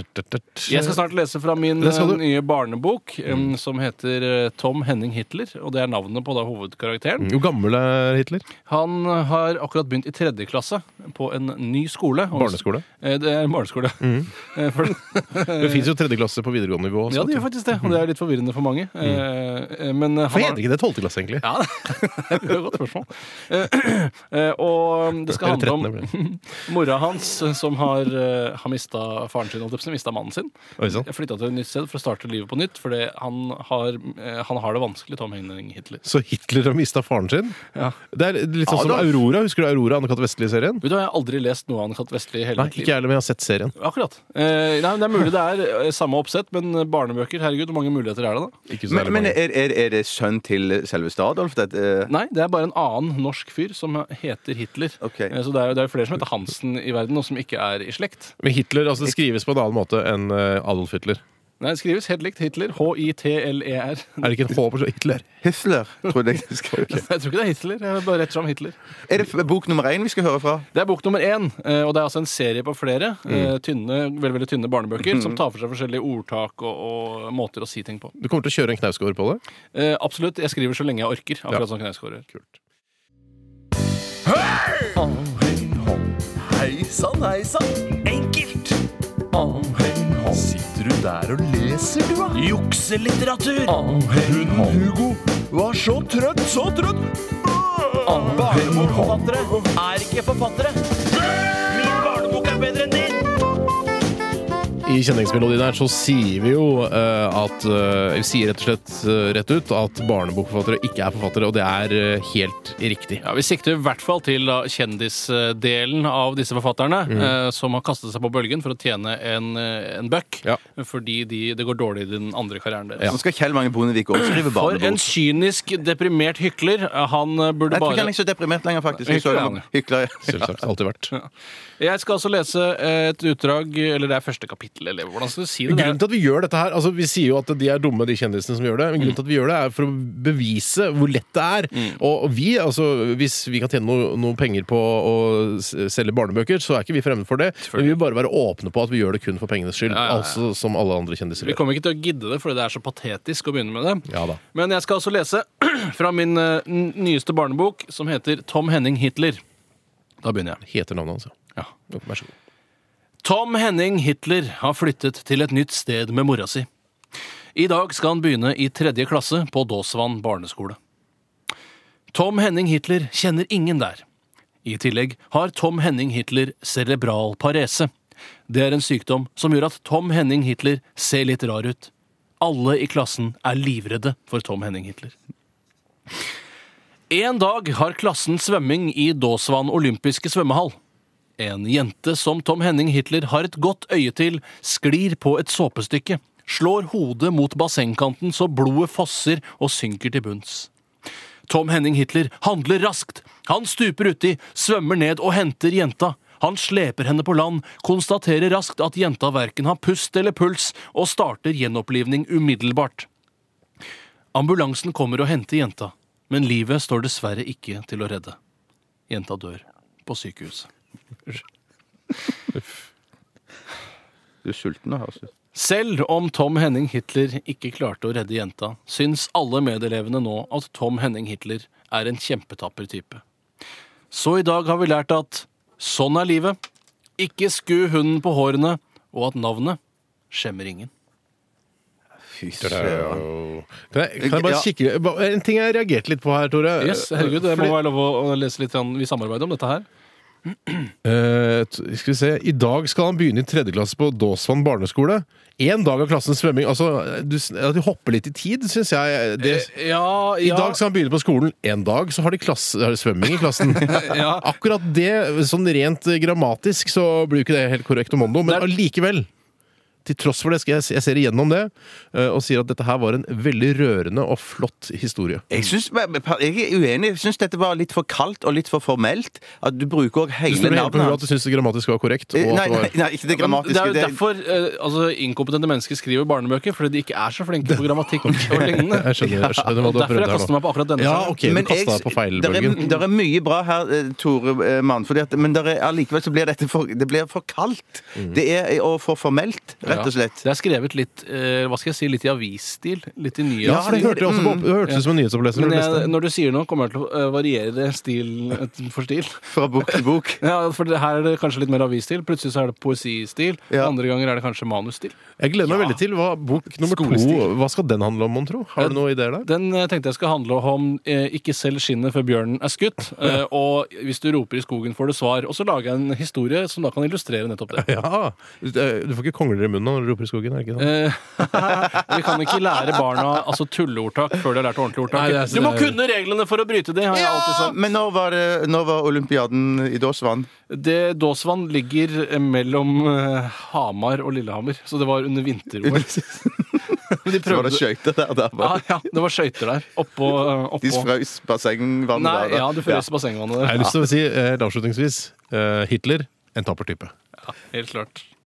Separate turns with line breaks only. Jeg skal snart lese fra min
Det skal du. Mm.
eh, nye barnebok em, som heter eh, Tom Henning Hitler. Og det er navnet på da hovedkarakteren.
Mm. Hvor gammel er Hitler?
Han har akkurat begynt i tredje klasse på en ny skole. Og-
Barneskole? Mm.
Eh, Det er en barneskole. Eh, For,
Det fins jo tredjeklasse på videregående nivå.
ja,
Også,
det gjør
vet du.
faktisk det. Og det er litt forvirrende for
Mm.
mange. Eh, eh, Men eh,
Hvorfor
han har-
heter ikke det tolvteklasse, egentlig?
Ja, det er et godt spørsmål. Eh, eh, Og det skal handle
Eller
om
trettende, blir det.
mora hans eh, som har, eh, har mista faren sin, holdt jeg på å si, mista mannen sin.
Oi sann.
Jeg flytta til et nytt sted for å starte livet på nytt, fordi han har, eh, han har det vanskelig, Tom Henning Hitler.
Så Hitler har mista faren sin?
Ja.
Det er litt sånn som
Adolf.
Aurora. Husker du Aurora, Anne-Cath. Vestli-serien?
Vet du, hva, Jeg har aldri lest noe av Anne-Kat. Vestli i hele
Nei,
mitt
ikke jeg
liv.
heller, men jeg har sett serien.
Akkurat. Eh, nei, men Det er mulig det er eh, samme oppsett, men barnebøker, herregud, hvor mange muligheter er det da?
Ikke så
Men,
særlig
men
mange.
er, er, er det sønn til selveste Adolf? Dette?
Nei, det er bare en annen norsk fyr som heter Hitler.
Ok.
Eh, Så det er jo det er jo flere som heter Hansen i verden, og som ikke er i slekt.
Men Hitler altså, det skrives på en annen måte enn eh, Adolf Hitler.
Nei, det skrives helt likt Hitler.
Er
H-I-T-L-E-R.
det ikke en H på så Hitler?
Hitler, trodde jeg det skrev.
Jeg tror ikke det er Hitler. Det er bare rett fram Hitler.
Er det f- bok nummer én vi skal høre fra?
Det er bok nummer én, eh, og det er altså en serie på flere
Mm.
eh, tynne, veldig, veldig
Mhm.
tynne barnebøker som tar for seg forskjellige ordtak og, og måter å si ting på.
Du kommer til å kjøre en knausgård på det?
Eh, Absolutt. Jeg skriver så lenge jeg orker. Akkurat som Knausgård gjør.
Kult.
Hei sann, hei sann. Enkelt. Sitter du der og leser, du, da? Jukselitteratur. Hun Hugo var så trøtt, så trøtt. Barnebokforfattere er ikke forfattere. Min barnebok er bedre enn din.
I kjenningsmelodien her så sier vi jo eh, at eh, Vi sier rett og slett eh, rett ut at barnebokforfattere ikke er forfattere, og det er eh, helt riktig.
Ja, Vi sikter i hvert fall til da, kjendisdelen av disse forfatterne,
Mm.
eh, som har kastet seg på bølgen for å tjene en, eh, en buck,
Ja.
fordi de, det går dårlig i den andre karrieren deres.
Så skal Kjell Magne Bondevik også skrive
For en
barnebok.
kynisk, deprimert hykler. Han eh, burde
Jeg tror ikke han
bare
er så deprimert lenger, faktisk. Jeg
Hykler,
så det
han,
var- Hykler, ja.
Selvsagt. Alltid vært.
Jeg skal altså lese et utdrag, eller det er første kapittel, eller hvordan skal du si det?
Grunnen
det?
til at vi gjør dette her, altså Vi sier jo at de er dumme, de kjendisene som gjør det. Men grunnen til at vi gjør det er for å bevise hvor lett det er.
Mm.
Og vi, altså hvis vi kan tjene noe, noe penger på å s- selge barnebøker, så er ikke vi fremmede for det. Men vi vil bare være åpne på at vi gjør det kun for pengenes skyld.
Ja, ja, ja.
Altså som alle andre kjendiser
Vi
gjør.
kommer ikke til å gidde det, fordi det er så patetisk å begynne med det.
Ja da.
Men jeg skal altså lese fra min eh, n- nyeste barnebok, som heter Tom Henning Hitler. Da begynner jeg.
Heter navnet hans, ja.
Ja.
Jo, Vær så god.
Tom Henning Hitler har flyttet til et nytt sted med mora si. I dag skal han begynne i tredje klasse på Dåsvann barneskole. Tom Henning Hitler kjenner ingen der. I tillegg har Tom Henning Hitler cerebral parese. Det er en sykdom som gjør at Tom Henning Hitler ser litt rar ut. Alle i klassen er livredde for Tom Henning Hitler. En dag har klassen svømming i Dåsvann olympiske svømmehall. En jente som Tom Henning Hitler har et godt øye til, sklir på et såpestykke, slår hodet mot bassengkanten så blodet fosser og synker til bunns. Tom Henning Hitler handler raskt. Han stuper uti, svømmer ned og henter jenta. Han sleper henne på land, konstaterer raskt at jenta verken har pust eller puls, og starter gjenopplivning umiddelbart. Ambulansen kommer og henter jenta, men livet står dessverre ikke til å redde. Jenta dør på sykehuset.
Du er sulten nå, høres det ut.
Selv om Tom Henning Hitler ikke klarte å redde jenta, syns alle medelevene nå at Tom Henning Hitler er en kjempetapper type. Så i dag har vi lært at sånn er livet, ikke sku hunden på hårene, og at navnet skjemmer ingen.
Fy søren.
Kan jeg, kan jeg bare
Ja.
kikke bare- En ting jeg reagerte litt på her, Tore.
Yes, herregud, Det må være lov å å lese litt grann- Vi samarbeider om dette her.
Eh, t- skal vi se I dag skal han begynne i tredje klasse på Dåsvann barneskole. Én dag av klassens svømming. Altså, du, s- at de hopper litt i tid, syns jeg. Det,
Eh, Ja,
I dag skal han begynne på skolen. En dag så har de, klasse, har de svømming i klassen.
Ja.
Akkurat det, sånn rent eh, grammatisk, så blir jo ikke det helt korrekt om Mondo, men
Det er-
allikevel. til tross for det skal jeg, jeg ser igjennom det eh, og sier at dette her var en veldig rørende og flott historie.
Jeg, synes, jeg er uenig. Jeg syns dette var litt for kaldt og litt for formelt. At du bruker òg
Du
hele
står helt på huet
navnet.
at du syns det grammatisk var korrekt.
Eh,
Og at det
Nei, nei,
var...
nei, ikke det
Men det
grammatiske.
er jo
det-
derfor eh, altså, inkompetente mennesker skriver barnebøker, fordi de ikke er så flinke på grammatikk og lignende.
Jeg skjønner, jeg skjønner hva du har
Og derfor
prøvd
jeg
her
kaster
nå.
meg på akkurat denne.
Ja,
sangen.
ok, du
Men
kastet
jeg-
deg på
der er,
feilbølgen.
der er mye bra her, eh, Tore eh, Mann. Fordi at, men der er, allikevel så blir dette for, det blir for kaldt. Det er eh, og for formelt, rett og slett.
Det er skrevet litt eh, hva skal jeg si, litt i avisstil. Litt i
Ja, for
nyhetsstil.
det hørte jeg også på, det hørtes ut som en nyhetsoppleser.
Mm.
for
Men
det
jeg,
meste.
når du sier noe, kommer jeg til å eh, variere stil eh, for stil.
Fra bok til bok.
Ja, for det- Her er det kanskje litt mer avisstil. Plutselig så er det poesistil.
Ja.
Andre ganger er det kanskje manusstil.
Jeg gleder meg veldig til hva bok nummer to
Skolestil.
Hva skal den handle om, mon tro? Har du noen ideer der?
Den eh, tenkte jeg skal handle om eh, ikke selv skinnet før bjørnen er skutt. Eh, og hvis du roper i skogen, får du svar. Og så lager jeg en historie som da kan illustrere nettopp det.
Ja! Du får ikke kongler i munnen når du roper i skogen? er det ikke sant?
Eh, vi kan ikke lære barna altså tulleordtak før de har lært ordentlig ordtak.
Nei, det er-
du må kunne reglene for å bryte det! har jeg alltid sånn. sagt.
Men når var, det, når var olympiaden i Dåsvann?
Det Dåsvann ligger eh, mellom eh, Hamar og Lillehammer, så det var under vinter-OL.
De prøvde. Så var det skøyter der. der
Ja,
bare.
ja, det var skøyter der. Oppå. eh,
De
oppå.
frøs bassengvannet
Nei,
der. da.
ja, du frøs i bassengvannet
Jeg
der.
har lyst til å si eh, helt avslutningsvis eh, Hitler en tapper type.
Helt klart.